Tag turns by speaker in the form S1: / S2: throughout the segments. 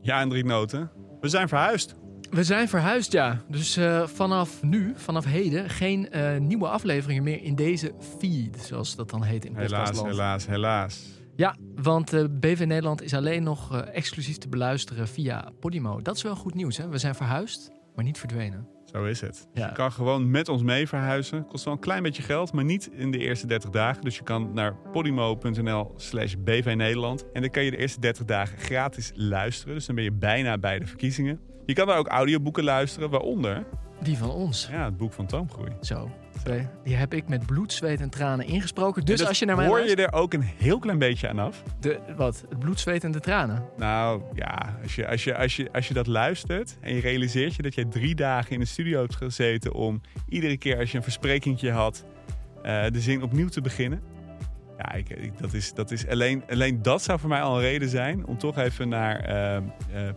S1: Ja, en drie noten. We zijn verhuisd.
S2: We zijn verhuisd, ja. Dus eh, vanaf nu, vanaf heden, geen eh, nieuwe afleveringen meer in deze feed, zoals dat dan heet in
S1: Helaas,
S2: podcastland.
S1: helaas, helaas.
S2: Ja, want eh, BV Nederland is alleen nog eh, exclusief te beluisteren via Podimo. Dat is wel goed nieuws, hè? We zijn verhuisd, maar niet verdwenen.
S1: Zo is het.
S2: Ja.
S1: Je kan gewoon met ons mee verhuizen. Kost wel een klein beetje geld, maar niet in de eerste 30 dagen. Dus je kan naar podimo.nl slash bv Nederland. En dan kan je de eerste 30 dagen gratis luisteren. Dus dan ben je bijna bij de verkiezingen. Je kan daar ook audioboeken luisteren, waaronder
S2: Die van ons.
S1: ja, het boek van Toomgroei.
S2: Zo. Oké, Die heb ik met bloed, zweet en tranen ingesproken. Dus
S1: En dat
S2: als je naar mij
S1: hoor
S2: luistert-
S1: je er ook een heel klein beetje aan af.
S2: De, wat? Het bloed, zweet en de tranen.
S1: Nou ja, als je, als, je, als, je, als je dat luistert en je realiseert je dat jij drie dagen in de studio hebt gezeten om iedere keer als je een versprekingje had eh, de zin opnieuw te beginnen. Ja, ik, ik- dat is, dat is alleen, alleen dat zou voor mij al een reden zijn om toch even naar eh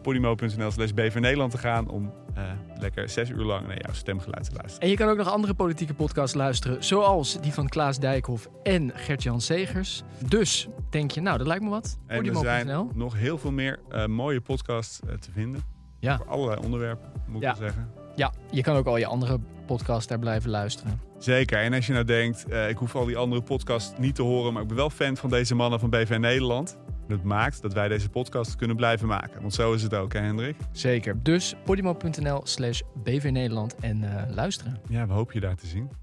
S1: podimo.nl slash bv Nederland te gaan om eh, lekker zes uur lang naar jouw stemgeluid te luisteren.
S2: En je kan ook nog andere politieke podcasts luisteren, zoals die van Klaas Dijkhoff en Gert-Jan Segers. Dus denk je, nou, dat lijkt me wat.
S1: En er zijn
S2: Podimo.nl.
S1: nog heel veel meer eh, mooie podcasts eh, te vinden.
S2: Ja.
S1: Voor allerlei onderwerpen, moet ik
S2: Ja.
S1: wel zeggen.
S2: Ja, je kan ook al je andere podcasts daar blijven luisteren.
S1: Zeker. En als je nou denkt, eh, ik hoef al die andere podcasts niet te horen, maar ik ben wel fan van deze mannen van BV Nederland. Dat maakt dat wij deze podcast kunnen blijven maken. Want zo is het ook, hè Hendrik?
S2: Zeker. Dus podimo.nl slash bvnederland en eh, luisteren.
S1: Ja, we hopen je daar te zien.